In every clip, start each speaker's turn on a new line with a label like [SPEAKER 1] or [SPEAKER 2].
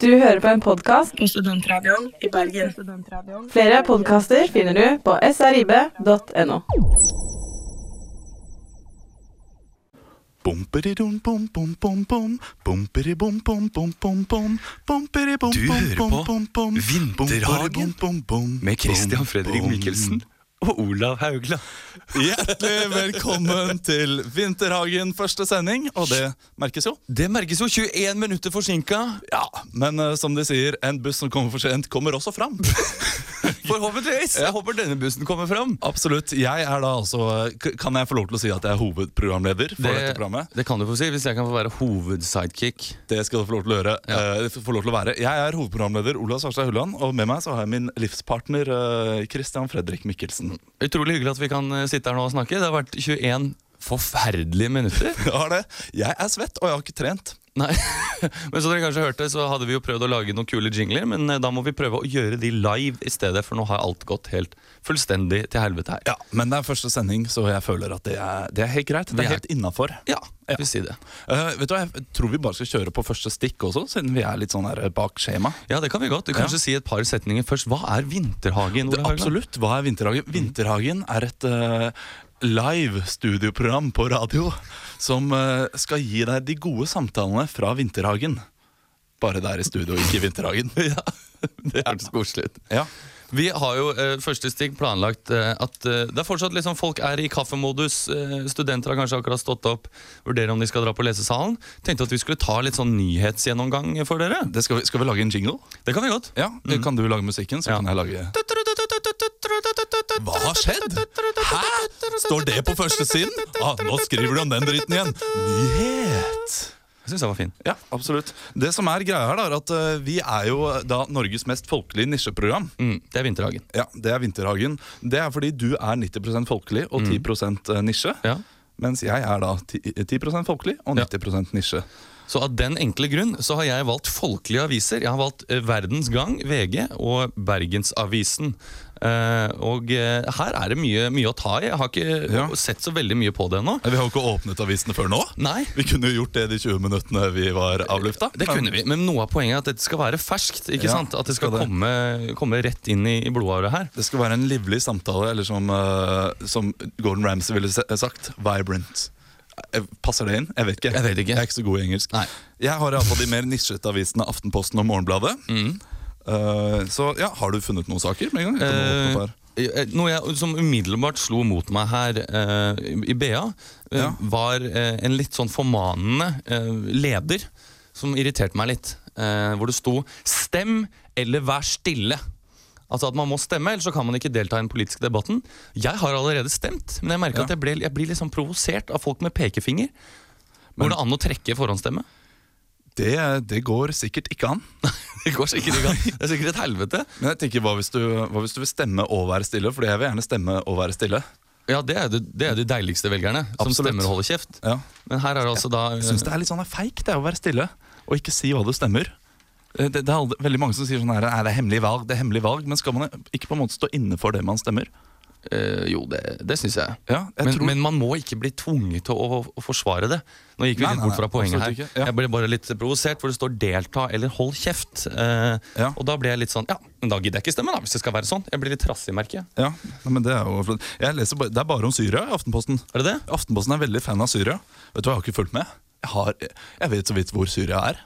[SPEAKER 1] Du hører på en podkast.
[SPEAKER 2] på Studentradioen i Bergen.
[SPEAKER 1] Flere podkaster finner du på srib.no.
[SPEAKER 3] Du hører på Vinterhagen med Christian Fredrik Mikkelsen og Olav Haugland.
[SPEAKER 4] Hjertelig velkommen til Vinterhagen første sending, og det merkes jo.
[SPEAKER 3] Det merkes jo 21 minutter forsinka.
[SPEAKER 4] Ja, Men eh, som de sier, en buss som kommer for sent, kommer også fram.
[SPEAKER 3] Forhåpentligvis. Jeg håper denne bussen kommer fram.
[SPEAKER 4] Absolutt. Jeg er da altså eh, k- Kan jeg få lov til å si at jeg er hovedprogramleder for dette programmet?
[SPEAKER 3] det kan du få si, hvis jeg kan få være hovedsidekick.
[SPEAKER 4] Det skal du få lov til å gjøre. eh, f- få lov til å være. Jeg er hovedprogramleder Olav Svarstad Hulland, og med meg så har jeg min livspartner eh, Christian Fredrik Mikkelsen.
[SPEAKER 3] Utrolig hyggelig at vi kan eh, sitte her nå og snakke. Det har vært 21 forferdelige minutter.
[SPEAKER 4] Ja, det. Jeg er svett, og jeg har ikke trent.
[SPEAKER 3] Nei, men som dere kanskje hørte, så hadde vi jo prøvd å lage noen kule jingler, men eh, da må vi prøve å gjøre de live i stedet, for nå har alt gått helt fullstendig til helvete her.
[SPEAKER 4] Ja, Men det er første sending, så jeg føler at det er, det er helt greit. Det
[SPEAKER 3] Vi er-
[SPEAKER 4] er helt innafor.
[SPEAKER 3] Ja, jeg vil si det.
[SPEAKER 4] Eh, vet du hva, Jeg tror vi bare skal kjøre på første stikk også, siden vi er litt sånn her bak skjema.
[SPEAKER 3] Ja, det kan vi godt. Du kan kanskje si et par setninger først. Hva er Vinterhagen?
[SPEAKER 4] Det,
[SPEAKER 3] Ole Haugland? Mm.
[SPEAKER 4] absolutt. Hva er Vinterhagen? Vinterhagen er et eh, live studioprogram på radio som eh, skal gi deg de gode samtalene fra Vinterhagen. Bare der i studio, ikke i Vinterhagen.
[SPEAKER 3] Ja, det hørtes koselig ut.
[SPEAKER 4] Ja.
[SPEAKER 3] Vi har jo eh, første stig planlagt eh, at eh, det er fortsatt liksom folk er i kaffemodus. Eh, studenter har kanskje akkurat stått opp, vurderer om de skal dra på lesesalen. Tenkte at vi skulle ta litt sånn nyhetsgjennomgang for dere.
[SPEAKER 4] Det skal, vi, skal vi lage en jingle?
[SPEAKER 3] Det kan vi godt.
[SPEAKER 4] Ja, Kan du lage musikken, så
[SPEAKER 3] Mm. Ja.
[SPEAKER 4] kan jeg lage Hva har skjedd? Hæ? Står det på første siden? Ah, nå skriver du om den dritten igjen. Nyhet!
[SPEAKER 3] Jeg syns den var fin.
[SPEAKER 4] Ja, absolutt. Det som er greia her, da, er at eh, vi er jo da Norges mest folkelige nisjeprogram.
[SPEAKER 3] Mm, det er Vinterhagen.
[SPEAKER 4] Ja, Det er Vinterhagen. Det er fordi du er 90 folkelig og 10 nisje.
[SPEAKER 3] Ja.
[SPEAKER 4] Mens jeg er da 10 10% folkelig og
[SPEAKER 3] Ja.
[SPEAKER 4] 90 nisje.
[SPEAKER 3] Så av den enkle grunn så har jeg valgt folkelige aviser. Jeg har valgt eh, Verdens Gang, VG og Bergensavisen. Eh, og eh, her er det mye, mye å ta i. Jeg har ikke
[SPEAKER 4] Ja.
[SPEAKER 3] sett så veldig mye på det ennå.
[SPEAKER 4] Vi har jo ikke åpnet avisene før nå.
[SPEAKER 3] Nei.
[SPEAKER 4] Vi kunne jo gjort det de 20 minuttene vi var avlufta.
[SPEAKER 3] Det kunne vi, men noe av poenget er at dette skal være ferskt. ikke
[SPEAKER 4] Ja,
[SPEAKER 3] sant? At det skal,
[SPEAKER 4] skal det.
[SPEAKER 3] Komme, komme rett inn i, i blodåret her.
[SPEAKER 4] Det skal være en livlig samtale, eller som, eh, som Gordon Ramsay ville se- sagt, vibrant. Eh, Passer det inn? Jeg vet ikke.
[SPEAKER 3] Jeg vet ikke.
[SPEAKER 4] Jeg er ikke så god i engelsk.
[SPEAKER 3] Nei.
[SPEAKER 4] Jeg har iallfall de mer nisjete avisene Aftenposten og Morgenbladet. Eh, så ja, har du funnet noen saker med en gang? Jeg kan åpne opp her.
[SPEAKER 3] Eh, noe jeg, som umiddelbart slo mot meg her eh, i BA, eh,
[SPEAKER 4] Ja.
[SPEAKER 3] var eh, en litt sånn formanende eh, leder som irriterte meg litt. Eh, hvor det sto 'stem eller vær stille'. Altså at man må stemme, ellers så kan man ikke delta i den politiske debatten. Jeg har allerede stemt, men jeg merker
[SPEAKER 4] Ja.
[SPEAKER 3] at jeg, ble, jeg blir litt sånn provosert av folk med pekefinger. Går det an å trekke forhåndsstemme?
[SPEAKER 4] det, det går sikkert ikke an.
[SPEAKER 3] Det går sikkert ikke an. Det er sikkert et helvete.
[SPEAKER 4] Men jeg tenker, hva hvis, du, hva hvis du vil stemme og være stille? Fordi jeg vil gjerne stemme og være stille.
[SPEAKER 3] Ja, det er, det, det er de deiligste velgerne, som
[SPEAKER 4] Absolutt.
[SPEAKER 3] stemmer og holder kjeft.
[SPEAKER 4] Ja.
[SPEAKER 3] Men her er det altså da eh,
[SPEAKER 4] Jeg syns det er litt sånn feigt det, å være stille og ikke si hva du stemmer. Eh, Det, det er aldri, veldig mange som sier sånn her, «Nei, det er hemmelig valg, det er hemmelig valg, men skal man ikke på en måte stå inne for det man stemmer?
[SPEAKER 3] Eh, jo, det, det syns jeg.
[SPEAKER 4] Ja, jeg
[SPEAKER 3] men,
[SPEAKER 4] tror-
[SPEAKER 3] men man må ikke bli tvunget til å, å forsvare det. Nå gikk vi
[SPEAKER 4] Nei,
[SPEAKER 3] litt
[SPEAKER 4] nei,
[SPEAKER 3] bort
[SPEAKER 4] nei,
[SPEAKER 3] fra poenget her.
[SPEAKER 4] absolutt ikke, ja.
[SPEAKER 3] Jeg ble bare litt provosert, hvor det står 'delta' eller 'hold kjeft'. Eh,
[SPEAKER 4] Ja.
[SPEAKER 3] Og da ble jeg litt sånn Ja, men da gidder jeg ikke stemme, da, hvis det skal være sånn. Jeg blir litt trassig, merker jeg.
[SPEAKER 4] Ja, nei, men Det er jo flott. Jeg leser, bare- det er bare om Syria i Aftenposten.
[SPEAKER 3] Er det det?
[SPEAKER 4] Aftenposten er veldig fan av Syria. Vet du hva, Jeg har ikke fulgt med. Jeg, har, jeg vet så vidt hvor Syria er.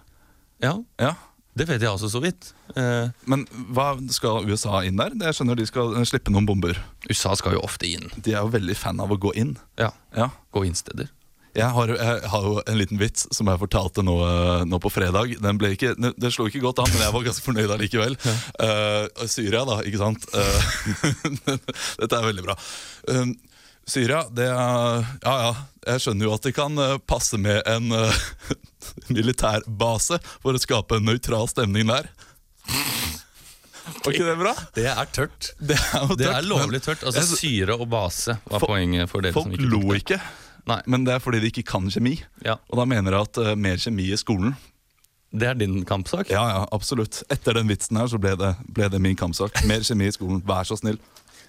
[SPEAKER 3] Ja.
[SPEAKER 4] Ja,
[SPEAKER 3] Det vet jeg også så vidt. Eh,
[SPEAKER 4] Men hva skal USA inn der? Jeg skjønner de skal eh, slippe noen bomber.
[SPEAKER 3] USA skal jo ofte inn.
[SPEAKER 4] De er jo veldig fan av å gå inn.
[SPEAKER 3] Ja.
[SPEAKER 4] Ja.
[SPEAKER 3] Gå inn steder.
[SPEAKER 4] Jeg har, jeg har jo en liten vits som jeg fortalte nå, eh, nå på fredag. Den ble ikke, ne- den slo ikke godt an, men jeg var ganske fornøyd allikevel. Eh, Syria, da, ikke sant? Eh, Dette er veldig bra. Um, Syria, det er Ja ja, jeg skjønner jo at det kan eh, passe med en eh, militærbase for å skape en nøytral stemning der. Var ikke det bra?
[SPEAKER 3] Det er tørt.
[SPEAKER 4] Det er, jo
[SPEAKER 3] Det
[SPEAKER 4] tørt,
[SPEAKER 3] er
[SPEAKER 4] men-
[SPEAKER 3] lovlig tørt. Altså
[SPEAKER 4] Jeg-
[SPEAKER 3] Syre og base var
[SPEAKER 4] Folk-
[SPEAKER 3] poenget for dere som
[SPEAKER 4] Folk
[SPEAKER 3] ikke
[SPEAKER 4] lo
[SPEAKER 3] brukte.
[SPEAKER 4] ikke,
[SPEAKER 3] Nei,
[SPEAKER 4] men det er fordi de ikke kan kjemi.
[SPEAKER 3] Ja.
[SPEAKER 4] Og da mener jeg at eh, mer kjemi i skolen
[SPEAKER 3] Det er din kampsak.
[SPEAKER 4] Ja, ja, absolutt. Etter den vitsen her så ble det, ble det min kampsak. Mer kjemi i skolen, vær så snill.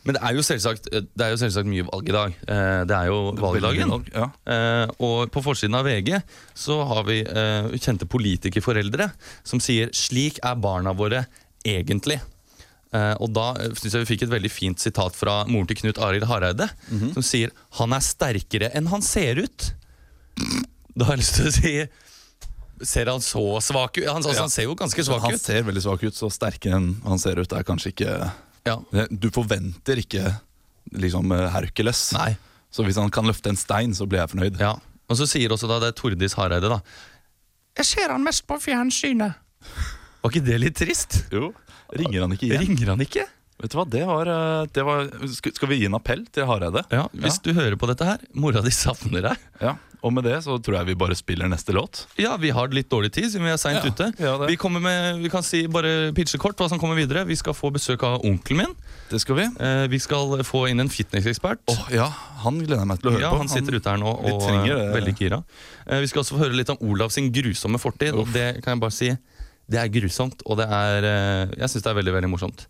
[SPEAKER 3] Men det er jo selvsagt, eh, det er jo selvsagt mye valg i dag. Eh, Det er jo valgdagen.
[SPEAKER 4] Veldig Ja.
[SPEAKER 3] Eh, og på forsiden av VG så har vi eh, kjente politikerforeldre som sier 'slik er barna våre egentlig'. Eh, og da eh, synes jeg vi fikk et veldig fint sitat fra moren til Knut Arild Hareide,
[SPEAKER 4] Mhm.
[SPEAKER 3] som sier 'han er sterkere enn han ser ut'. Da har jeg lyst til å si Ser han så svak ut? Han, altså,
[SPEAKER 4] Ja.
[SPEAKER 3] han ser jo ganske svak
[SPEAKER 4] Han
[SPEAKER 3] ut.
[SPEAKER 4] ser veldig svak ut, så sterkere enn han ser ut, er kanskje ikke
[SPEAKER 3] Ja.
[SPEAKER 4] Du forventer ikke liksom eh, Hercules.
[SPEAKER 3] Nei.
[SPEAKER 4] Så hvis han kan løfte en stein, så blir jeg fornøyd.
[SPEAKER 3] Ja, og så sier også da det er Tordis Hareide da Jeg ser han mest på fjernsynet Var ikke det litt trist?
[SPEAKER 4] Jo, Ringer han ikke igjen?
[SPEAKER 3] Ringer han ikke?
[SPEAKER 4] Vet du hva, det var, eh, det var Skal skal vi gi en appell til Hareide?
[SPEAKER 3] Ja, hvis du hører på dette her Mora di savner deg
[SPEAKER 4] Ja. Og med det så tror jeg vi bare spiller neste låt.
[SPEAKER 3] Ja, vi har litt dårlig tid siden vi er sent
[SPEAKER 4] Ja,
[SPEAKER 3] ute
[SPEAKER 4] ja, det.
[SPEAKER 3] vi, kommer med, vi kan si bare pitche kort hva som kommer videre Vi skal få besøk av onkelen min
[SPEAKER 4] Det skal vi.
[SPEAKER 3] eh, Vi skal få inn en fitnessekspert
[SPEAKER 4] Åh, ja, Han gleder jeg meg til å høre
[SPEAKER 3] ja,
[SPEAKER 4] på.
[SPEAKER 3] han sitter ute her nå
[SPEAKER 4] vi
[SPEAKER 3] og
[SPEAKER 4] trenger
[SPEAKER 3] eh,
[SPEAKER 4] det.
[SPEAKER 3] veldig gira. Eh, Vi skal også få høre litt om Olav sin grusomme fortid. Og det kan jeg bare si, det er grusomt, og det er eh, Jeg syns det er veldig, veldig morsomt.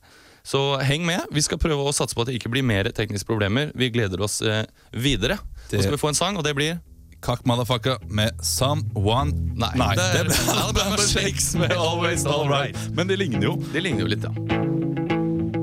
[SPEAKER 3] Så heng med. Vi skal prøve å satse på at det ikke blir mer tekniske problemer. Vi gleder oss eh, videre.
[SPEAKER 4] Det-
[SPEAKER 3] Nå skal vi få en sang, og det blir
[SPEAKER 4] Kakk motherfucker med Someone det,
[SPEAKER 3] Nei. Det er-
[SPEAKER 4] ble Alabama Shakes med Always Alright. Men de ligner jo.
[SPEAKER 3] Det ligner jo litt, ja.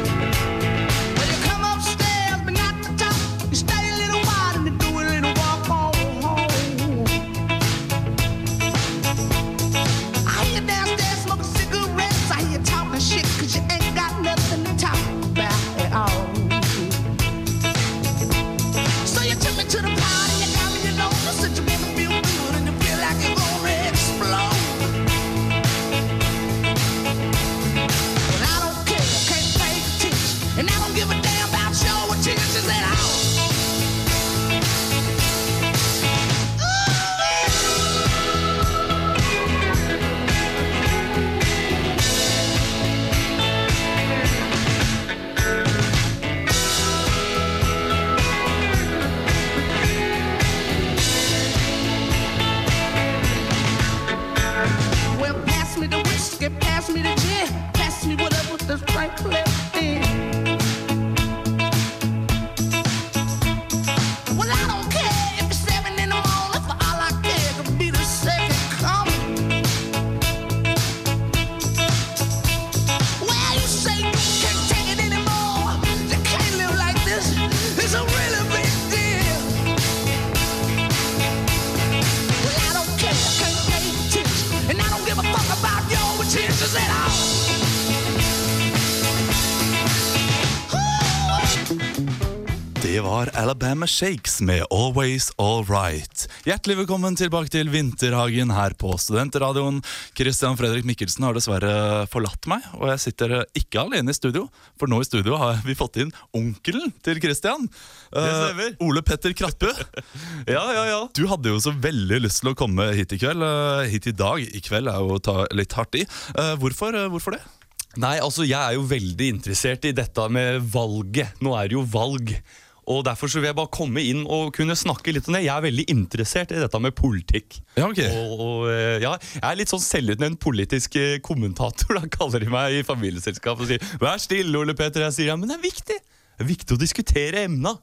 [SPEAKER 5] Well, you come upstairs, but not the top. You stay a little while and you do a little walk home. I hear you downstairs smoking cigarettes. I hear you talking shit 'cause you ain't got nothing to talk about at all. So you took me to the party, you got me to know. You said you wanna feel good and you feel like you're gonna explode. And I don't care, can't pay the teacher. And I don't give a damn about your attentions at all. Well, pass me the whiskey, pass me the gin, pass me whatever this drink left in. Well, I don't care if it's seven in the morning, for all I care could be the second coming. Well, you say you can't take it anymore, you can't live like this. It's a really big deal. Well, I don't care, I can't pay attention, and I don't give a fuck about your intentions at all.
[SPEAKER 4] Det var Alabama Shakes med Always Alright. Hjertelig velkommen tilbake til Vinterhagen her på Studentradioen. Christian Fredrik Mikkelsen har dessverre forlatt meg, og jeg sitter ikke alene i studio. For nå i studio har vi fått inn onkelen til Christian. Eh,
[SPEAKER 3] stemmer.
[SPEAKER 4] Ole Petter Krattbø.
[SPEAKER 3] Ja, ja, ja.
[SPEAKER 4] Du hadde jo så veldig lyst til å komme hit i kveld. eh, Hit i dag. I kveld er jo å ta litt hardt i. Eh, Hvorfor, eh, hvorfor det?
[SPEAKER 3] Nei, altså jeg er jo veldig interessert i dette med valget. Nå er det jo valg. Og derfor så vil jeg bare komme inn og kunne snakke litt om det. Jeg er veldig interessert i dette med politikk.
[SPEAKER 4] Ja, ok.
[SPEAKER 3] Og, og eh, ja, jeg er litt sånn selvutnevnt politisk eh, kommentator. Da kaller de meg i familieselskapet og sier 'vær stille, Ole Peter'. Jeg sier ja, men det er viktig. Det er viktig å diskutere emna.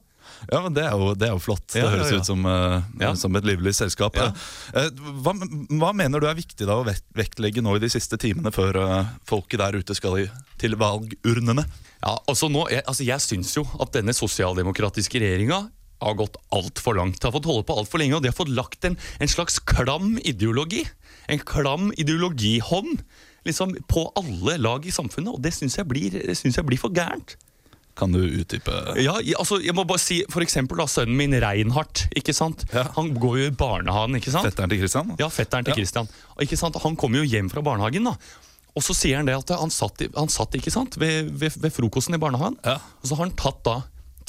[SPEAKER 4] Ja, men Det er jo, det er jo flott. Det
[SPEAKER 3] Ja, ja,
[SPEAKER 4] høres
[SPEAKER 3] ja.
[SPEAKER 4] ut som, eh,
[SPEAKER 3] Ja.
[SPEAKER 4] som et livlig selskap.
[SPEAKER 3] Ja.
[SPEAKER 4] Eh, hva, hva mener du er viktig da å vekt- vektlegge nå i de siste timene før eh, folket der ute skal i, til valgurnene?
[SPEAKER 3] Ja, altså nå, jeg, altså jeg syns jo at denne sosialdemokratiske regjeringa har gått altfor langt. Har fått holde på altfor lenge, og de har fått lagt en, en slags klam ideologi. En klam ideologihånd liksom på alle lag i samfunnet, og det syns jeg, blir- det synes jeg blir for gærent.
[SPEAKER 4] Kan du utdype
[SPEAKER 3] Ja, jeg, altså, jeg må bare si, for eksempel da, sønnen min Reinhardt, ikke sant?
[SPEAKER 4] Ja.
[SPEAKER 3] Han går jo i barnehagen, ikke sant?
[SPEAKER 4] fetteren til Kristian?
[SPEAKER 3] Ja, fetteren til
[SPEAKER 4] Ja.
[SPEAKER 3] Christian. Og Ikke sant? Han kommer jo hjem fra barnehagen, da. Og så sier han det at han satt, i- han satt ikke sant? Ved, ved, ved frokosten i barnehagen.
[SPEAKER 4] Ja.
[SPEAKER 3] Og så har han tatt da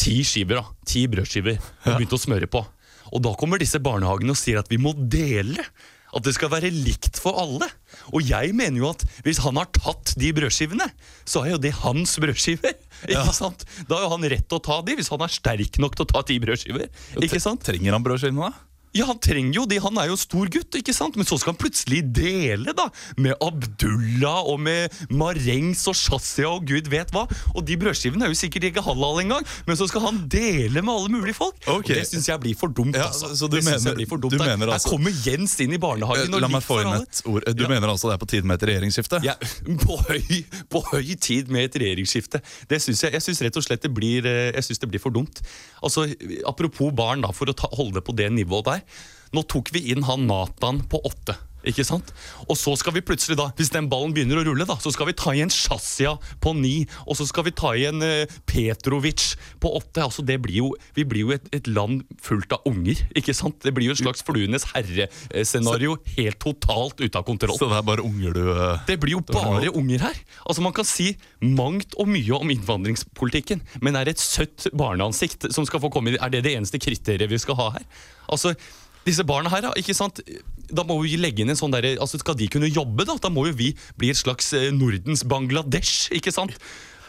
[SPEAKER 3] ti skiver, da. Ti brødskiver. Og begynt å smøre på. Og da kommer disse barnehagene og sier at vi må dele. At det skal være likt for alle. Og jeg mener jo at hvis han har tatt de brødskivene, så er jo det hans brødskiver. Ikke sant? Da har jo han rett til å ta de, hvis han er sterk nok til å ta ti brødskiver. Ikke sant?
[SPEAKER 4] Trenger han brødskivene, da?
[SPEAKER 3] Ja, han trenger jo det. Han er jo stor gutt, ikke sant? Men så skal han plutselig dele, da. Med Abdullah og med Marengs og Shazia og gud vet hva. Og de brødskivene er jo sikkert ikke halal engang, men så skal han dele med alle mulige folk. Og
[SPEAKER 4] Ok.
[SPEAKER 3] Det syns jeg blir for dumt,
[SPEAKER 4] Ja,
[SPEAKER 3] altså.
[SPEAKER 4] så du
[SPEAKER 3] det synes
[SPEAKER 4] mener-
[SPEAKER 3] jeg blir for
[SPEAKER 4] du
[SPEAKER 3] dumt. Der-
[SPEAKER 4] mener altså-
[SPEAKER 3] Her kommer Jens inn i barnehagen og
[SPEAKER 4] Eh, La meg
[SPEAKER 3] likt
[SPEAKER 4] få
[SPEAKER 3] for
[SPEAKER 4] inn
[SPEAKER 3] alle.
[SPEAKER 4] et ord. Du mener altså det er på tide med et regjeringsskifte?
[SPEAKER 3] Ja, på, høy, på høy tid med et regjeringsskifte. Det synes jeg, jeg synes rett og slett det blir, eh, jeg synes det blir for dumt. Altså, apropos barn, da, for å ta, holde det på det nivået der. Nå tok vi inn han Nathan på åtte. Ikke sant? Og så skal vi plutselig da, hvis den ballen begynner å rulle, da, så skal vi ta igjen Shazia på ni. Og så skal vi ta igjen eh, Petrovic på åtte. Altså, det blir jo, vi blir jo et, et land fullt av unger. ikke sant? Det blir jo et slags Fluenes herre-scenario helt totalt ute av kontroll.
[SPEAKER 4] Så det er bare unger du eh,
[SPEAKER 3] Det blir jo
[SPEAKER 4] var noe.
[SPEAKER 3] bare unger her. Altså Man kan si mangt og mye om innvandringspolitikken, men er et søtt barneansikt som skal få komme inn, er det det eneste kriteriet vi skal ha her? Altså, disse barna her, da, ikke sant? Da må vi legge inn en sånn derre altså Skal de kunne jobbe, da? Da må jo vi bli et slags eh, Nordens Bangladesh, ikke sant?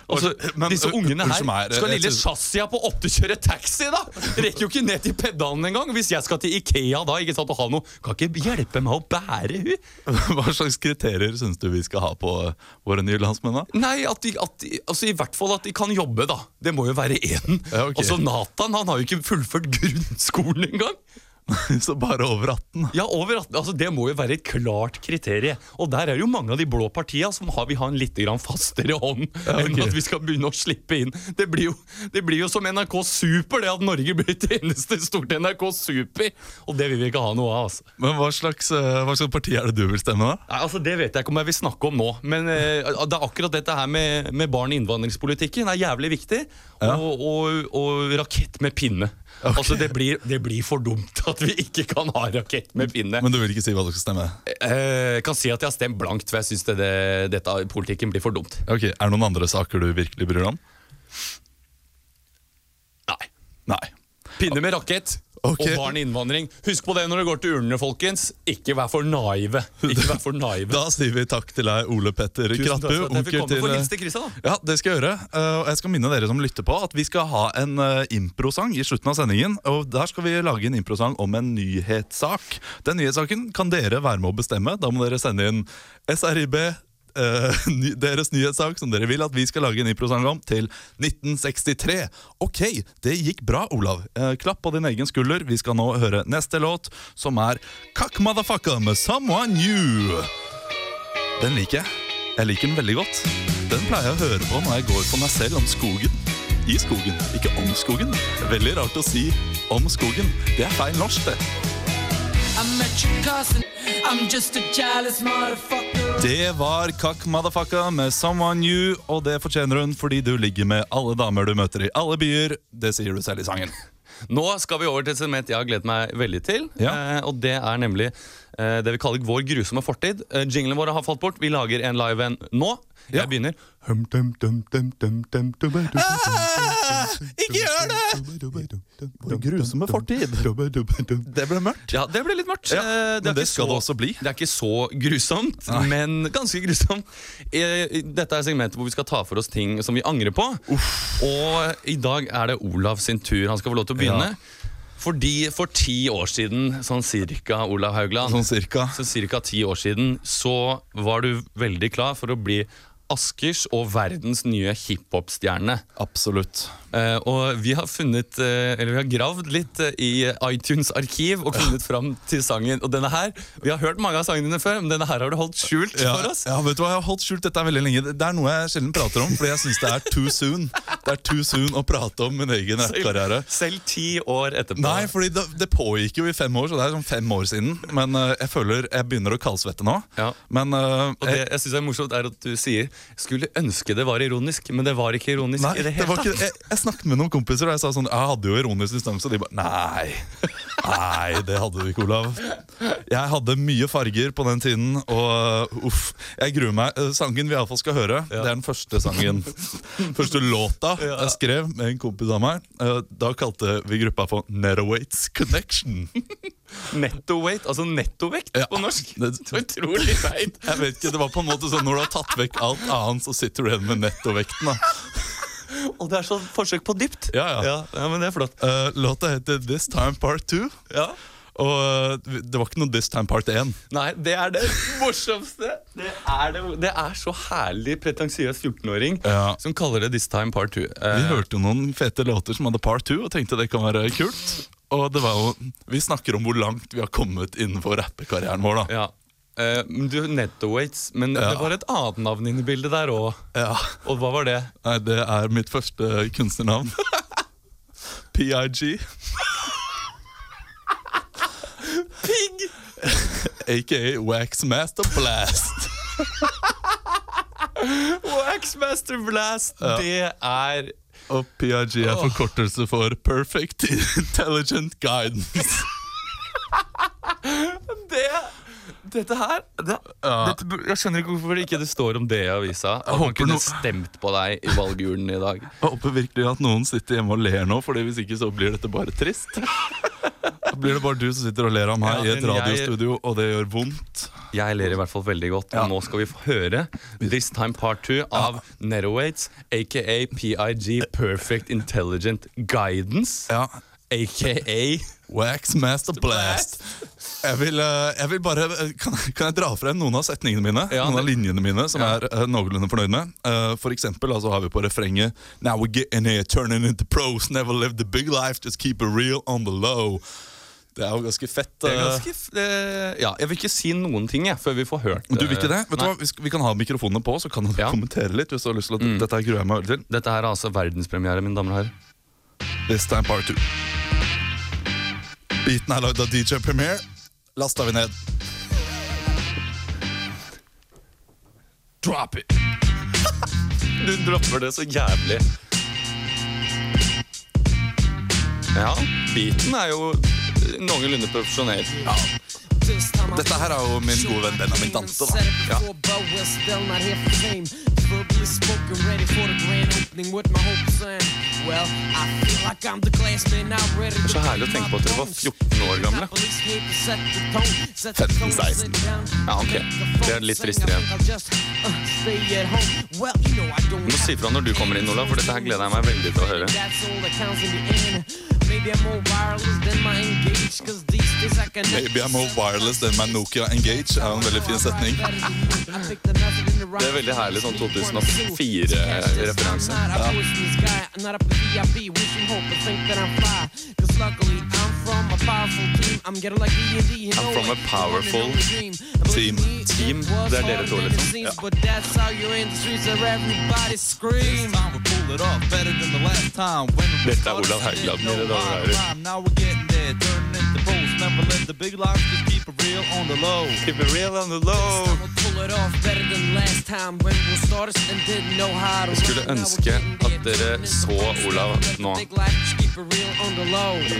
[SPEAKER 3] Altså,
[SPEAKER 4] eh, Men,
[SPEAKER 3] disse
[SPEAKER 4] u-
[SPEAKER 3] ungene her
[SPEAKER 4] unnskyld meg, eh,
[SPEAKER 3] Skal
[SPEAKER 4] jeg
[SPEAKER 3] lille
[SPEAKER 4] synes-
[SPEAKER 3] Shazia på åtte kjøre taxi, da?! Rekker jo ikke ned til pedalen engang! Hvis jeg skal til Ikea da ikke sant, og ha noe, kan ikke hjelpe meg å bære hun!
[SPEAKER 4] Hva slags kriterier syns du vi skal ha på eh, våre nye landsmenn, da?
[SPEAKER 3] Nei, at de, at de, altså i hvert fall at de kan jobbe, da. Det må jo være én.
[SPEAKER 4] Ja, ok.
[SPEAKER 3] Altså, Nathan han har jo ikke fullført grunnskolen engang!
[SPEAKER 4] Så bare over 18?
[SPEAKER 3] Ja, over 18, altså Det må jo være et klart kriterie. Og der er jo mange av de blå partia som har, vil ha en litt grann fastere hånd enn
[SPEAKER 4] ok.
[SPEAKER 3] at vi skal begynne å slippe inn. Det blir jo, det blir jo som NRK Super, det at Norge blir det eneste storte NRK Super. Og det vil vi ikke ha noe av, altså.
[SPEAKER 4] Men hva slags, eh, hva slags parti er det du vil stemme, da?
[SPEAKER 3] Nei, altså Det vet jeg ikke om jeg vil snakke om nå. Men eh, det er akkurat dette her med, med barn i innvandringspolitikken er jævlig viktig. Og, og, og rakett med pinne. Altså det blir, det blir for dumt at vi ikke kan ha rakett med pinne.
[SPEAKER 4] Men du vil ikke si hva du skal stemme?
[SPEAKER 3] Eh, jeg kan si at jeg har stemt blankt, for jeg syns det, det, dette politikken blir for dumt.
[SPEAKER 4] Ok, Er det noen andre saker du virkelig bryr deg om?
[SPEAKER 3] Nei.
[SPEAKER 4] Nei.
[SPEAKER 3] Pinne med rakett.
[SPEAKER 4] Ok.
[SPEAKER 3] Og barn i innvandring. Husk på det når det går til urnene, folkens. Ikke vær for naive. Ikke vær for naive.
[SPEAKER 4] Da sier vi takk til deg, Ole Petter
[SPEAKER 3] Tusen
[SPEAKER 4] Kratbu.
[SPEAKER 3] takk for at jeg
[SPEAKER 4] onkel
[SPEAKER 3] fikk komme.
[SPEAKER 4] til- eh,
[SPEAKER 3] Få hilse til Christian, da.
[SPEAKER 4] Ja, det skal jeg gjøre. Eh, Og jeg skal minne dere som lytter på, at vi skal ha en eh, improsang i slutten av sendingen. Og der skal vi lage en improsang om en nyhetssak. Den nyhetssaken kan dere være med å bestemme. Da må dere sende inn SRIB. eh, ny, deres nyhetssak som dere vil at vi skal lage en improsang om, til 1963. Ok, det gikk bra, Olav. Eh, klapp på din egen skulder. Vi skal nå høre neste låt, som er Kakk Motherfucker med Someone New. Den liker jeg. Jeg liker den veldig godt. Den pleier jeg å høre på når jeg går for meg selv om skogen. I skogen, ikke om skogen. Veldig rart å si om skogen. Det er feil norsk, det. Det var Kakk Motherfucka med Someone New, og det fortjener hun fordi du ligger med alle damer du møter i alle byer. Det sier du selv i sangen.
[SPEAKER 3] Nå skal vi over til et segment jeg har gledet meg veldig til.
[SPEAKER 4] Ja.
[SPEAKER 3] Eh, og det er nemlig eh, det vi kaller vår grusomme fortid. Eh, Jinglene våre har falt bort. Vi lager en live en nå.
[SPEAKER 4] Ja.
[SPEAKER 3] Jeg begynner.
[SPEAKER 6] Hum dum dum dum dum dum dum dum
[SPEAKER 4] Ikke gjør det!
[SPEAKER 6] Vår grusomme fortid.
[SPEAKER 4] Det ble mørkt.
[SPEAKER 3] Ja, det ble litt mørkt.
[SPEAKER 4] Ja,
[SPEAKER 3] Eh,
[SPEAKER 4] men
[SPEAKER 3] er
[SPEAKER 4] det
[SPEAKER 3] ikke
[SPEAKER 4] skal det også bli.
[SPEAKER 3] Det er ikke så grusomt, men ganske grusomt. Eh, Dette er segmentet hvor vi skal ta for oss ting som vi angrer på. Og i dag er det Olav sin tur. Han skal få lov til å begynne. Fordi for ti år siden, sånn cirka, Olav Haugland
[SPEAKER 4] Sånn cirka.
[SPEAKER 3] Så cirka ti år siden så var du veldig klar for å bli Askers og verdens nye hiphop-stjerne.
[SPEAKER 4] Absolutt.
[SPEAKER 3] Eh, og vi har funnet, eh, eller vi har gravd litt eh, i iTunes arkiv og funnet fram til sangen. Og denne her, Vi har hørt mange av sangene dine før, men denne her har du holdt skjult
[SPEAKER 4] Ja,
[SPEAKER 3] for oss.
[SPEAKER 4] ja, vet du hva, jeg har holdt skjult dette veldig lenge. Det- Det er noe jeg sjelden prater om, fordi jeg syns det er too soon. Det er too soon å prate om min egen rappkarriere.
[SPEAKER 3] Selv ti år etterpå.
[SPEAKER 4] Nei, fordi det, det pågikk jo i fem år, så det er sånn fem år siden. Men eh, jeg føler jeg begynner å kaldsvette nå.
[SPEAKER 3] Ja.
[SPEAKER 4] Men eh,
[SPEAKER 3] og
[SPEAKER 4] jeg,
[SPEAKER 3] det jeg synes er morsomt er at du sier 'skulle ønske det var ironisk', men det var ikke ironisk
[SPEAKER 4] nei,
[SPEAKER 3] i det
[SPEAKER 4] det
[SPEAKER 3] hele
[SPEAKER 4] var
[SPEAKER 3] tatt.
[SPEAKER 4] ikke, jeg, jeg snakket med noen kompiser, og jeg sa sånn Jeg hadde jo ironisk distanse, og de bare Nei. Nei, det hadde du ikke, Olav. Jeg hadde mye farger på den tiden, og uh, uff. Jeg gruer meg. Eh, Sangen vi iallfall skal høre, det er den første sangen. Første låta jeg skrev med en kompis av meg. Eh, Da kalte vi gruppa for Nerowaits Connection.
[SPEAKER 3] Netto-weight, altså nettovekt
[SPEAKER 4] Ja.
[SPEAKER 3] på norsk.
[SPEAKER 4] Det-
[SPEAKER 3] Så utrolig feil.
[SPEAKER 4] Jeg vet ikke, det var på en måte sånn Når du har tatt vekk alt annet, så sitter du igjen med nettovekten. da
[SPEAKER 3] Og det er sånn forsøk på dypt.
[SPEAKER 4] Ja, ja.
[SPEAKER 3] ja. men det er flott.
[SPEAKER 4] Eh, Låta heter This Time Part 2.
[SPEAKER 3] Ja.
[SPEAKER 4] Og eh, det var ikke noe This Time Part 1.
[SPEAKER 3] Nei, det er det morsomste. Det er, det, det er så herlig pretensiøs 14-åring
[SPEAKER 4] Ja.
[SPEAKER 3] som kaller det This Time Part Eh, 2.
[SPEAKER 4] Vi hørte jo noen fete låter som hadde part 2 og tenkte det kan være kult. Og det var jo, Vi snakker om hvor langt vi har kommet innenfor rappekarrieren vår. da
[SPEAKER 3] ja. Eh, men du, Nettowaits, men det var et annet navn inne i bildet der òg.
[SPEAKER 4] Ja.
[SPEAKER 3] Og hva var det?
[SPEAKER 4] Nei, Det er mitt første kunstnernavn. PIG.
[SPEAKER 3] Pigg!
[SPEAKER 4] Aka Wax Master Blast.
[SPEAKER 3] Waxmaster Blast! Det er
[SPEAKER 4] Og PIG er forkortelse for Perfect Intelligent Guidance.
[SPEAKER 3] Det Dette her det, dette, bur- Jeg skjønner ikke hvorfor det ikke det står om det i avisa. At man
[SPEAKER 4] håper
[SPEAKER 3] kunne
[SPEAKER 4] no-
[SPEAKER 3] stemt på deg i valgurnen i dag.
[SPEAKER 4] Jeg håper virkelig at noen sitter hjemme og ler nå, Fordi hvis ikke så blir dette bare trist. Da blir det bare du som sitter og ler av meg
[SPEAKER 3] Ja,
[SPEAKER 4] i et
[SPEAKER 3] men jeg-
[SPEAKER 4] radiostudio, og det gjør vondt.
[SPEAKER 3] Jeg ler i hvert fall veldig godt. Og nå skal vi få høre This Time Part 2 av Nerowaits, aka PIG Perfect Intelligent Guidance,
[SPEAKER 4] Ja,
[SPEAKER 3] aka
[SPEAKER 4] Wax Master Blast. Jeg vil, eh, jeg vil bare eh, kan, kan jeg dra frem noen av setningene mine?
[SPEAKER 3] Ja,
[SPEAKER 4] noen av
[SPEAKER 3] det-
[SPEAKER 4] linjene mine som jeg er eh, noenlunde fornøyd med? Eh, for eksempel altså, har vi på refrenget Now we're getting here, turning into pros. Never live the big life, just keep it real on the low. Det er jo ganske fett.
[SPEAKER 3] Det er
[SPEAKER 4] eh,
[SPEAKER 3] ganske f- eh, Ja, jeg vil ikke si noen ting, jeg, før vi får hørt
[SPEAKER 4] men du vil
[SPEAKER 3] eh,
[SPEAKER 4] ikke det? Vet du
[SPEAKER 3] nei.
[SPEAKER 4] hva? Vi, skal, vi kan ha mikrofonene på, så kan du
[SPEAKER 3] Ja. Mm.
[SPEAKER 4] kommentere litt. Hvis du har lyst til å, Dette her gruer jeg meg veldig til.
[SPEAKER 3] Dette her er altså verdenspremiere, mine damer og herrer.
[SPEAKER 4] This time part two. Beaten er lagd av DJ Premier. Lasta vi ned.
[SPEAKER 3] Drop it! Du dropper det så jævlig. Ja, beaten er jo eh, noenlunde profesjonell.
[SPEAKER 4] Dette her er jo min gode venn Benjamin Dante. da
[SPEAKER 3] Ja.
[SPEAKER 7] Det er så herlig å tenke på at dere var 14 år gamle.
[SPEAKER 4] 15-16.
[SPEAKER 7] Ja, ok. Det er litt tristere uh, igjen. Du må si fra når du kommer inn, Olav, for dette her gleder jeg meg veldig til å høre.
[SPEAKER 4] Maybe I'm more wireless than my Nokia Engage er en veldig fin setning.
[SPEAKER 7] Det er veldig herlig sånn 2004-referanse. I'm from a powerful team.
[SPEAKER 3] Team, det er dere to, liksom.
[SPEAKER 7] Ja. Dette
[SPEAKER 3] Dette er Olav Haugland, mine damer og herrer. Keep it real on the low.
[SPEAKER 4] Oh.
[SPEAKER 7] Jeg skulle ønske at dere så Olav nå.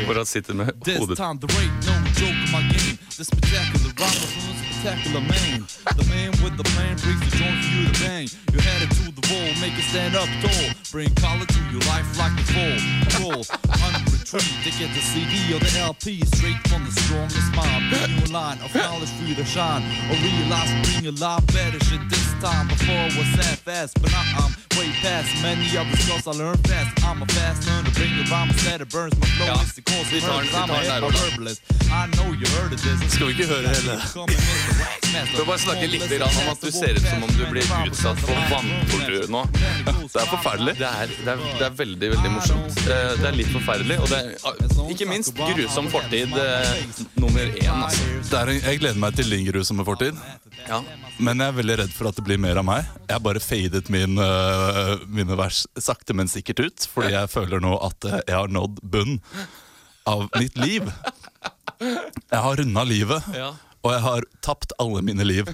[SPEAKER 3] Hvor han sitter med
[SPEAKER 8] This
[SPEAKER 3] hodet
[SPEAKER 8] time there ain't no joke in my game. The spectacular rhyme from the spectacular man. The man with the plan brings the joint for you to bang. You headed to the wall, make it stand up tall. Bring color to your life like the fall. Roll, under retreat, they get the CD or the LP straight from the strongest mind. Bring you a line of knowledge for you to shine. Or realize, bring a lot better shit this time. Before I was half fast, but now I'm way past many other skills I learned fast. I'm a fast learner, bring the rhyme instead, it burns my flow.
[SPEAKER 3] Ja.
[SPEAKER 8] It's the cause
[SPEAKER 3] Vi tar den- vi tar den der, Olav.
[SPEAKER 8] skal vi ikke høre hele? Du
[SPEAKER 3] Du må bare snakke litt grann om at du ser ut som om du blir utsatt for vanntortur nå.
[SPEAKER 8] Det er forferdelig.
[SPEAKER 3] Det er, det er, det er veldig veldig morsomt. Eh, Det er litt forferdelig, og det er ah, ikke minst grusom fortid eh, nummer én. Altså.
[SPEAKER 4] Det er en, jeg gleder meg til Lingerud som er fortid.
[SPEAKER 3] Ja.
[SPEAKER 4] Men jeg er veldig redd for at det blir mer av meg. Jeg har bare fadet min, øh, mine vers sakte, men sikkert ut. Fordi jeg føler nå at øh, jeg har nådd bunn av mitt liv. Jeg har runda livet,
[SPEAKER 3] Ja.
[SPEAKER 4] og jeg har tapt alle mine liv.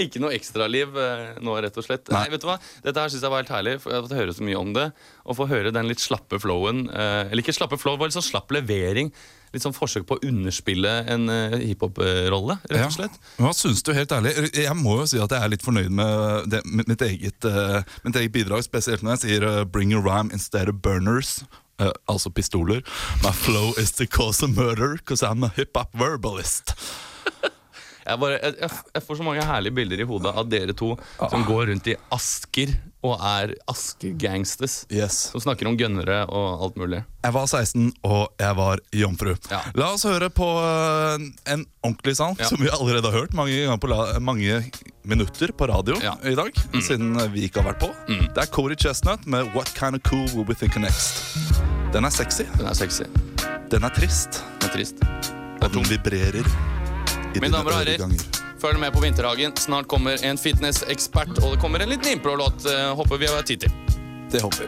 [SPEAKER 3] Ikke noe ekstraliv eh, nå, rett og slett. Nei,
[SPEAKER 4] Nei.
[SPEAKER 3] vet du hva? Dette her synes jeg var helt herlig. for Jeg har fått høre så mye om det. Og få høre den litt slappe flowen. eh, Eller ikke slappe flow, bare litt sånn slapp levering. litt sånn forsøk på å underspille en eh, hiphop-rolle, rett og slett.
[SPEAKER 4] Ja. Hva syns du, helt ærlig? Jeg må jo si at jeg er litt fornøyd med det, mitt, mitt, eget, eh, mitt eget bidrag, spesielt når jeg sier eh, 'bring a rhyme instead of burners'. eh, altså pistoler. My flow is to cause a murder, cause I'm a hip-hop verbalist.
[SPEAKER 3] Jeg, bare, jeg, jeg, jeg får så mange herlige bilder i hodet av dere to som går rundt i asker og er askegangsters.
[SPEAKER 4] Yes.
[SPEAKER 3] Som snakker om gønnere og alt mulig.
[SPEAKER 4] Jeg var 16, og jeg var jomfru.
[SPEAKER 3] Ja.
[SPEAKER 4] La oss høre på eh, en ordentlig sang
[SPEAKER 3] Ja.
[SPEAKER 4] som vi allerede har hørt mange, ganger på la mange minutter på radio
[SPEAKER 3] Ja. Mm.
[SPEAKER 4] i dag. Siden vi ikke har vært på. Det er Cody Chestnut med 'What Kind of Cool Will We Think of Next'. Den er sexy,
[SPEAKER 3] Den er sexy. Den
[SPEAKER 4] den er trist,
[SPEAKER 3] er trist. Den er
[SPEAKER 4] og den
[SPEAKER 3] tung.
[SPEAKER 4] vibrerer. i
[SPEAKER 3] Mine
[SPEAKER 4] dine
[SPEAKER 3] damer og herrer,
[SPEAKER 4] øreganger.
[SPEAKER 3] følg med på Vinterhagen. Snart kommer en fitnessekspert, og det kommer en liten impro-låt. eh, Håper vi har tid til.
[SPEAKER 4] Det hopper.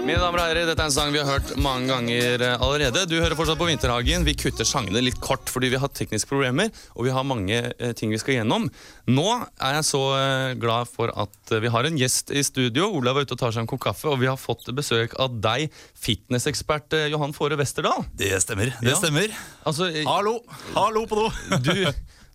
[SPEAKER 3] Mine damer og herrer, dette er en sang vi har hørt mange ganger eh, allerede. Du hører fortsatt på Vinterhagen. Vi kutter sangene litt kort fordi vi har tekniske problemer, og vi har mange eh, ting vi skal gjennom. Nå er jeg så eh, glad for at eh, vi har en gjest i studio. Olav er ute og tar seg en kopp kaffe, og vi har fått besøk av deg, fitnessekspert eh, Johan Fåre Westerdal.
[SPEAKER 4] Det stemmer.
[SPEAKER 3] Ja.
[SPEAKER 4] stemmer.
[SPEAKER 3] Altså, eh,
[SPEAKER 4] Hallo! Hallo på do!
[SPEAKER 3] du,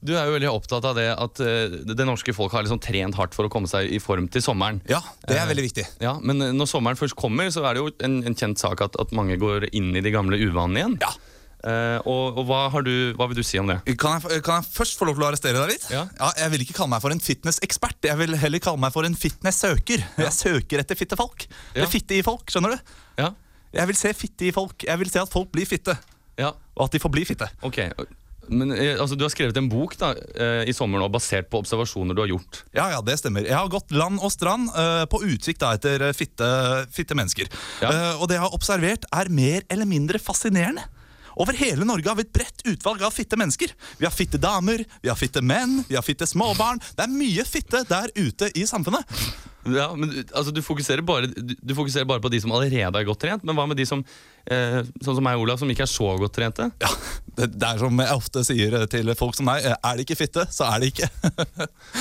[SPEAKER 3] du er jo veldig opptatt av det at eh, det norske folk har liksom trent hardt for å komme seg i form til sommeren.
[SPEAKER 4] Ja, det er veldig viktig.
[SPEAKER 3] Ja, Men eh, når sommeren først kommer, så er det jo en, en kjent sak at, at mange går inn i de gamle uvanene igjen.
[SPEAKER 4] Ja.
[SPEAKER 3] Eh, og og hva, har du, hva vil du si om det?
[SPEAKER 4] Kan jeg, kan jeg først få lov til å arrestere deg litt?
[SPEAKER 3] Ja.
[SPEAKER 4] Jeg vil ikke kalle meg for en fitnessekspert. Jeg vil heller kalle meg for en fitnesssøker. Jeg søker etter fitte folk.
[SPEAKER 3] Ja.
[SPEAKER 4] Eller fitte i folk, skjønner du?
[SPEAKER 3] Ja,
[SPEAKER 4] Jeg vil se fitte i folk. Jeg vil se at folk blir fitte.
[SPEAKER 3] ja,
[SPEAKER 4] Og at de får bli fitte.
[SPEAKER 3] ok. Men eh, altså, du har skrevet en bok da, eh, i sommer nå, basert på observasjoner du har gjort.
[SPEAKER 4] Ja, ja, det stemmer. Jeg har gått land og strand eh, på utkikk da etter eh, fitte, fitte mennesker.
[SPEAKER 3] Ja.
[SPEAKER 4] Eh, og det jeg har observert, er mer eller mindre fascinerende. Over hele Norge har vi et bredt utvalg av fitte mennesker. Vi har fitte damer, vi har fitte menn, vi har fitte småbarn. Det er mye fitte der ute i samfunnet.
[SPEAKER 3] Ja, men du- altså, du, fokuserer bare, du, du fokuserer bare på de som allerede er godt trent, men hva med de som, eh, sånn som meg og Olav, som ikke er så godt trente?
[SPEAKER 4] Ja, det, det er som jeg ofte sier til folk som meg, er det ikke fitte, så er det ikke.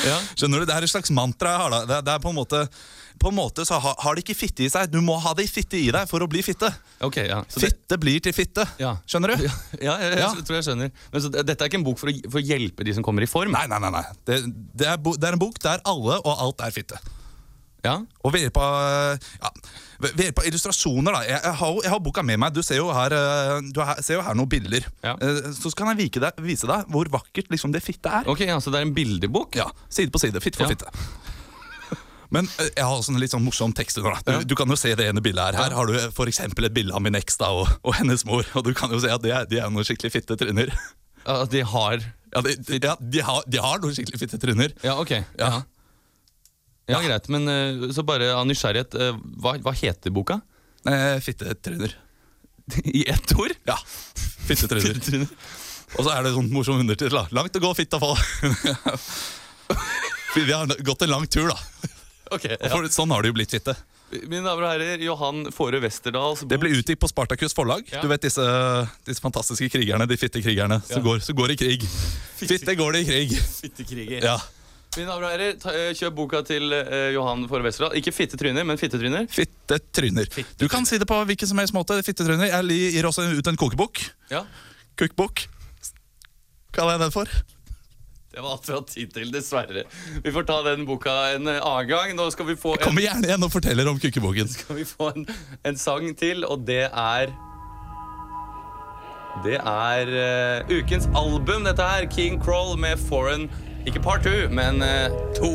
[SPEAKER 3] Ja.
[SPEAKER 4] Skjønner du, Det er et slags mantra jeg har. da. Det, det er på en måte, på en måte så har, har det ikke fitte i seg. Du må ha det fitte i deg for å bli fitte.
[SPEAKER 3] Ok, ja. Så det-
[SPEAKER 4] Fitte blir til fitte.
[SPEAKER 3] Ja.
[SPEAKER 4] Skjønner du?
[SPEAKER 3] Ja, ja, jeg, jeg,
[SPEAKER 4] Ja.
[SPEAKER 3] tror jeg skjønner. Men så, det- dette er ikke en bok for å, for å hjelpe de som kommer i form?
[SPEAKER 4] Nei, nei, nei. nei. Det, det, er, bo- det er en bok der alle og alt er fitte.
[SPEAKER 3] Ja?
[SPEAKER 4] Og ved hjelp av, ja, ved ved hjelp av illustrasjoner da. Jeg, jeg, har, jo- jeg har boka med meg. Du ser jo her, eh, du har, ser jo her noen bilder.
[SPEAKER 3] Ja.
[SPEAKER 4] Eh, Så kan jeg vike deg, vise deg hvor vakkert liksom, det fitte er.
[SPEAKER 3] Ok, ja, Så det er en bildebok?
[SPEAKER 4] Ja, Side på side. Fitte for
[SPEAKER 3] Ja.
[SPEAKER 4] fitte. Men eh, jeg har også en litt sånn morsom tekst under. da. Du, du kan jo se det ene bildet her. Her har du eh, for eksempel et bilde av min eks da, og, og hennes mor. Og du kan jo se at de er, de er noen skikkelig fitte tryner.
[SPEAKER 3] At de har
[SPEAKER 4] Ja, de, de, ja, de, har, de har noen skikkelig fitte tryner.
[SPEAKER 3] Ja, ok. Ja,
[SPEAKER 4] Ja.
[SPEAKER 3] ja greit. Men eh, så bare av nysgjerrighet, eh, hva, hva heter boka?
[SPEAKER 4] Eh, fitte tryner.
[SPEAKER 3] I ett ord?
[SPEAKER 4] Ja. Fitte tryner. Og så er det sånn morsom undertittel. da. Langt å gå, fitta fall. Vi har gått en lang tur, da.
[SPEAKER 3] Ok,
[SPEAKER 4] Og
[SPEAKER 3] ja.
[SPEAKER 4] for, sånn har det jo blitt fitte.
[SPEAKER 3] Mine damer og herrer, Johan Fåre Westerdals
[SPEAKER 4] Det ble utgitt på Spartakus forlag.
[SPEAKER 3] Ja.
[SPEAKER 4] Du vet disse, disse fantastiske krigerne, de fitte krigerne, som,
[SPEAKER 3] Ja.
[SPEAKER 4] går, som går i krig. Fitte går de i krig.
[SPEAKER 3] Fittekriger.
[SPEAKER 4] Ja.
[SPEAKER 3] Mine damer og herrer, ta, eh, kjøp boka til eh, Johan Fåre Westerdal. Ikke fittetryner, men fittetryner.
[SPEAKER 4] Fittetryner. Du kan si det på hvilken som helst måte. Fittetryner. Jeg li- gir også ut en kokebok.
[SPEAKER 3] Ja.
[SPEAKER 4] Cookbook. Kaller jeg den for.
[SPEAKER 3] Det var alt vi hadde tid til, dessverre. Vi får ta den boka en eh, annen gang. Nå skal vi få en
[SPEAKER 4] Kommer gjerne igjen og forteller om kokeboken.
[SPEAKER 3] skal vi få en, en sang til, og det er Det er eh, ukens album, dette her. King Crawl med Foreign Ikke part two, men eh, to.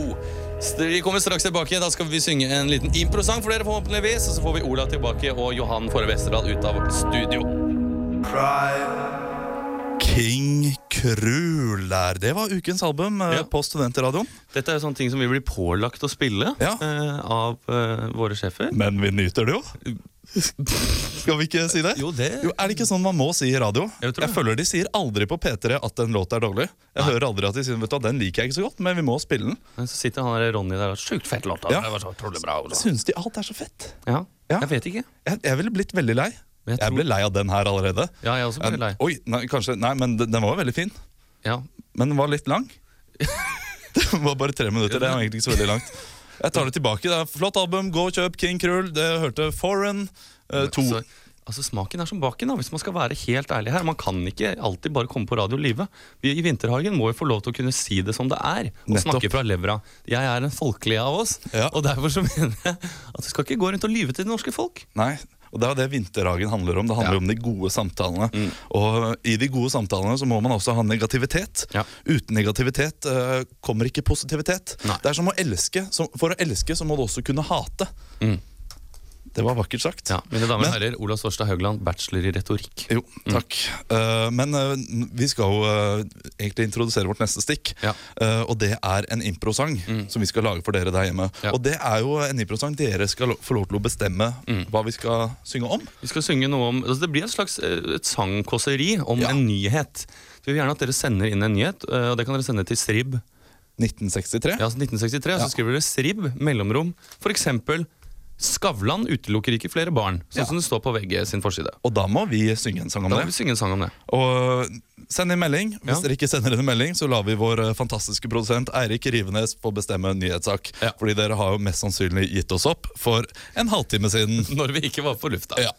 [SPEAKER 3] Så Vi kommer straks tilbake. Da skal vi synge en liten improsang for dere, forhåpentligvis. Og så får vi Olav tilbake og Johan Fåre Westerdal ut av studio.
[SPEAKER 4] King Krul der. Det var ukens album eh,
[SPEAKER 3] Ja.
[SPEAKER 4] på Studenterradioen.
[SPEAKER 3] Dette er jo sånne ting som vi blir pålagt å spille
[SPEAKER 4] Ja.
[SPEAKER 3] eh, av eh, våre sjefer.
[SPEAKER 4] Men vi nyter det jo. Skal vi ikke si det?
[SPEAKER 3] Jo, det-
[SPEAKER 4] Er det ikke sånn man må si i radio?
[SPEAKER 3] Jeg tror det.
[SPEAKER 4] føler de sier aldri på P3 at en låt er dårlig. Jeg hører aldri at de sier vet du, hva, den liker jeg ikke så godt, men vi må spille den.
[SPEAKER 3] Men så sitter han der Ronny der og Sjukt fett låt. da.
[SPEAKER 4] Ja.
[SPEAKER 3] Det var så utrolig bra. Olav.
[SPEAKER 4] Syns de alt er så fett?
[SPEAKER 3] Ja.
[SPEAKER 4] Ja.
[SPEAKER 3] Jeg vet ikke.
[SPEAKER 4] Jeg, jeg ville blitt veldig lei.
[SPEAKER 3] Men
[SPEAKER 4] Jeg,
[SPEAKER 3] jeg tror-
[SPEAKER 4] ble lei av den her allerede.
[SPEAKER 3] Ja, jeg er også veldig lei.
[SPEAKER 4] Oi, nei, kanskje, nei, men den, den var jo veldig fin.
[SPEAKER 3] Ja,
[SPEAKER 4] Men den var litt lang. Det var bare tre minutter. Det var egentlig ikke så veldig langt. Jeg tar det tilbake. Det er et Flott album. Gå og kjøp King Krull. Det hørte Foreign. eh, to.
[SPEAKER 3] Så, altså Smaken er som baken, da, hvis man skal være helt ærlig her. Man kan ikke alltid bare komme på radio og lyve. Vi i Vinterhagen må jo få lov til å kunne si det som det er, og
[SPEAKER 4] Nettopp.
[SPEAKER 3] snakke fra levra. Jeg er den folkelige av oss,
[SPEAKER 4] Ja.
[SPEAKER 3] og derfor så mener jeg at du skal ikke gå rundt og lyve til det norske folk.
[SPEAKER 4] Nei, og det er jo det Vinterhagen handler om. Det handler
[SPEAKER 3] Ja.
[SPEAKER 4] om
[SPEAKER 3] Mm.
[SPEAKER 4] de gode samtalene. Og i de gode samtalene så må man også ha negativitet.
[SPEAKER 3] Ja.
[SPEAKER 4] Uten negativitet eh, kommer ikke positivitet.
[SPEAKER 3] Nei.
[SPEAKER 4] Det er som å elske. Som, for å elske så må du også kunne hate. Det var vakkert sagt.
[SPEAKER 3] Mm. Ja, Mine damer
[SPEAKER 4] Men-
[SPEAKER 3] og herrer, Olav Svarstad Haugland, bachelor i retorikk.
[SPEAKER 4] Jo, takk. Eh, men eh, vi skal jo eh, egentlig introdusere vårt neste stikk.
[SPEAKER 3] Ja. Mm.
[SPEAKER 4] Eh, og det er en improsang som vi skal lage for dere der hjemme.
[SPEAKER 3] Ja.
[SPEAKER 4] Og det er jo en improsang dere skal lo- få lov til å bestemme
[SPEAKER 3] Mm.
[SPEAKER 4] hva vi skal synge om.
[SPEAKER 3] Vi skal synge noe om, altså Det blir et slags eh, et sangkåseri om
[SPEAKER 4] Ja.
[SPEAKER 3] en nyhet. Så Vi vil gjerne at dere sender inn en nyhet, eh, og det kan dere sende til SRIB.
[SPEAKER 4] 1963.
[SPEAKER 3] Ja, altså 1963, og
[SPEAKER 4] Ja.
[SPEAKER 3] Så skriver dere SRIB, mellomrom, f.eks. Skavlan utelukker ikke flere barn, sånn
[SPEAKER 4] Ja.
[SPEAKER 3] som det står på VG sin forside.
[SPEAKER 4] Og da må vi synge en sang om
[SPEAKER 3] Da må vi
[SPEAKER 4] det.
[SPEAKER 3] synge en sang om det.
[SPEAKER 4] Og send inn melding. Hvis
[SPEAKER 3] Ja.
[SPEAKER 4] dere ikke sender inn en melding, så lar vi vår eh, fantastiske produsent Eirik Rivenes få bestemme en nyhetssak.
[SPEAKER 3] Ja.
[SPEAKER 4] Fordi dere har jo mest sannsynlig gitt oss opp for en halvtime siden.
[SPEAKER 3] Når vi ikke var på lufta.
[SPEAKER 4] Ja.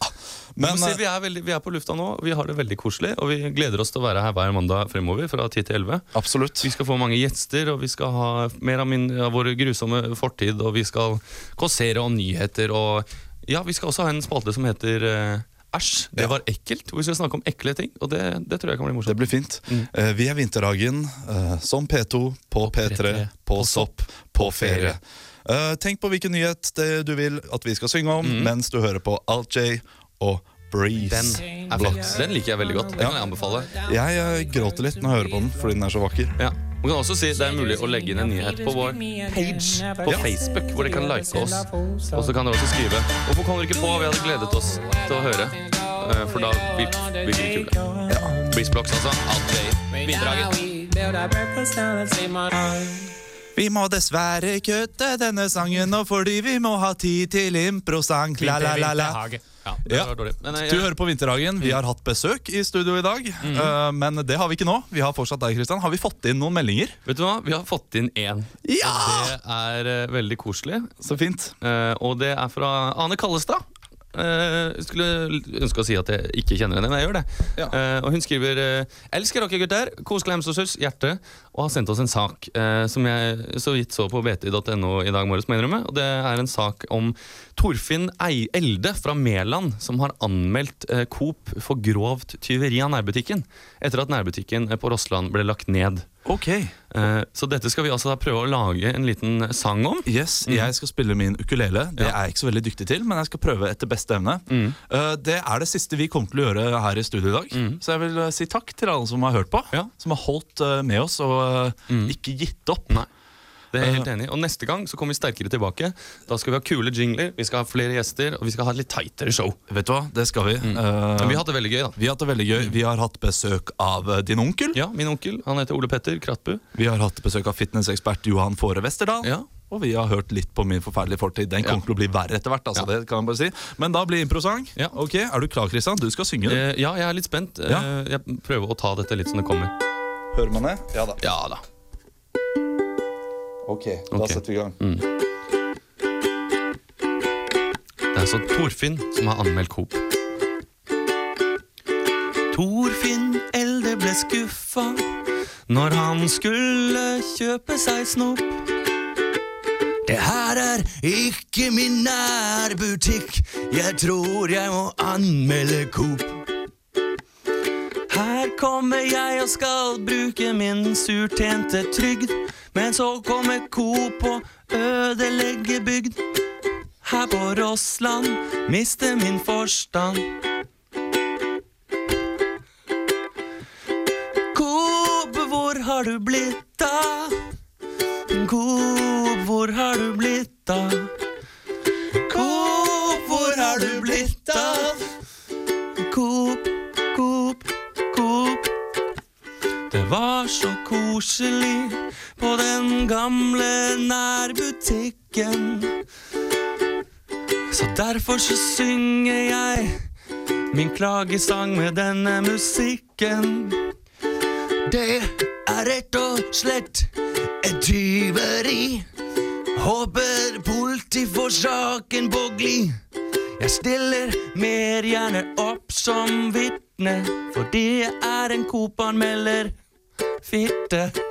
[SPEAKER 4] Men,
[SPEAKER 3] Men, si, vi,
[SPEAKER 4] eh,
[SPEAKER 3] er veldig, vi er på lufta nå, vi har det veldig koselig, og vi gleder oss til å være her hver mandag fremover fra 10 til 11.
[SPEAKER 4] absolutt.
[SPEAKER 3] Vi skal få mange gjester, og vi skal ha mer av, min, av vår grusomme fortid. Og vi skal kåsere om nyheter. Og ja, vi skal også ha en spalte som heter eh, Æsj, det
[SPEAKER 4] Ja.
[SPEAKER 3] var ekkelt. Hvor vi skal snakke om ekle ting. Og det, det tror jeg kan bli
[SPEAKER 4] Det
[SPEAKER 3] morsomt.
[SPEAKER 4] blir fint.
[SPEAKER 3] Mm.
[SPEAKER 4] Eh, vi er Vinterhagen, eh, som P2, på P3, på Sopp, på ferie. Eh, tenk på hvilken nyhet det du vil at vi skal synge om,
[SPEAKER 3] Mm.
[SPEAKER 4] mens du hører på Alt-J og Breeze.
[SPEAKER 3] Den er flott. Den liker jeg veldig godt. Det kan jeg anbefale.
[SPEAKER 4] Jeg eh, gråter litt når jeg hører på den, fordi den er så vakker.
[SPEAKER 3] Ja. Man kan også si Det er mulig å legge inn en nyhet på vår page på Facebook, hvor dere kan like oss. Og så kan dere også skrive Hvorfor kom dere ikke på? Vi hadde gledet oss til å høre. Eh, For da vil vi bli kule. Ja. Breeze Blocks, altså. Alt det bidraget.
[SPEAKER 4] Vi må dessverre kutte denne sangen nå fordi vi må ha tid til improsang. La, la, la, la.
[SPEAKER 3] Ja, det
[SPEAKER 4] Ja.
[SPEAKER 3] var dårlig. Men, eh, Mm.
[SPEAKER 4] Du hører på Vinterhagen. Vi har hatt besøk i studio i dag, eh, men det har vi ikke nå. Vi har fortsatt deg, Kristian. Har vi fått inn noen meldinger?
[SPEAKER 3] Vet du hva? Vi har fått inn én.
[SPEAKER 4] Ja!
[SPEAKER 3] Det er eh, veldig koselig.
[SPEAKER 4] Så fint.
[SPEAKER 3] Eh, og det er fra Ane Kallestad. Eh, jeg skulle l- ønske å si at jeg ikke kjenner henne, men jeg gjør det.
[SPEAKER 4] Ja.
[SPEAKER 3] Eh, og Hun skriver eh, 'Elsker dere gutter, kos klems og suss, hjerte', og har sendt oss en sak eh, som jeg så vidt så på bt.no i dag morges, må jeg innrømme. Og det er en sak om Torfinn Ei Elde fra Mæland som har anmeldt eh, Coop for grovt tyveri av nærbutikken etter at nærbutikken eh, på Rossland ble lagt ned.
[SPEAKER 4] Ok.
[SPEAKER 3] Eh, så dette skal vi altså da prøve å lage en liten sang om.
[SPEAKER 4] Yes, Jeg skal spille min ukulele. Det er jeg ikke så veldig dyktig til, men jeg skal prøve etter beste evne.
[SPEAKER 3] Mm.
[SPEAKER 4] Eh, det er det siste vi kommer til å gjøre her i studio i dag. Så jeg vil eh, si takk til alle som har hørt på,
[SPEAKER 3] Mm. Ja. Mm.
[SPEAKER 4] som har holdt eh, med oss og eh, ikke gitt opp.
[SPEAKER 3] Nei. Det er jeg helt enig i. Og neste gang så kommer vi sterkere tilbake. Da skal vi ha kule jingler, vi skal ha flere gjester, og vi skal ha et litt tightere show.
[SPEAKER 4] Vet du hva, det skal vi. Eh,
[SPEAKER 3] Mm. Men vi har hatt det veldig gøy, da.
[SPEAKER 4] vi har hatt det veldig gøy. Vi har hatt besøk av eh, din onkel.
[SPEAKER 3] Ja, min onkel. Han heter Ole Petter Krattbu.
[SPEAKER 4] Vi har hatt besøk av fitnessekspert Johan Fåre Westerdal.
[SPEAKER 3] Ja.
[SPEAKER 4] Og vi har hørt litt på min forferdelige fortid. Den
[SPEAKER 3] Ja.
[SPEAKER 4] kommer til å bli verre etter hvert. Altså,
[SPEAKER 3] Ja.
[SPEAKER 4] det kan jeg bare si. Men da blir improsang.
[SPEAKER 3] Ja.
[SPEAKER 4] Ok, Er du klar, Kristian? Du skal synge.
[SPEAKER 3] Eh, ja, jeg er litt spent. Eh,
[SPEAKER 4] Ja.
[SPEAKER 3] jeg prøver å ta dette litt som det kommer.
[SPEAKER 4] Hører man det? Ja da.
[SPEAKER 3] Ja da.
[SPEAKER 4] Ok, da
[SPEAKER 3] Ok.
[SPEAKER 4] setter vi i gang.
[SPEAKER 3] Det er altså Torfinn som har anmeldt Coop. Torfinn Elde ble skuffa når han skulle kjøpe seg snop. Det her er ikke min nærbutikk, jeg tror jeg må anmelde Coop. Her kommer jeg og skal bruke min surtjente trygd, men så kommer Coop og ødelegger bygd her på Rossland mister min forstand. Coop, hvor har du blitt av? Coop, hvor har du blitt av? Coop, hvor har du blitt av? Coop, Coop, Coop. Det var så koselig på den gamle nærbutikken. Så derfor så synger jeg min klagesang med denne musikken. Det er rett og slett et tyveri Håper politi får saken på gli. Jeg stiller mer gjerne opp som vitne, fordi jeg er en Coop-anmelder. Fitte.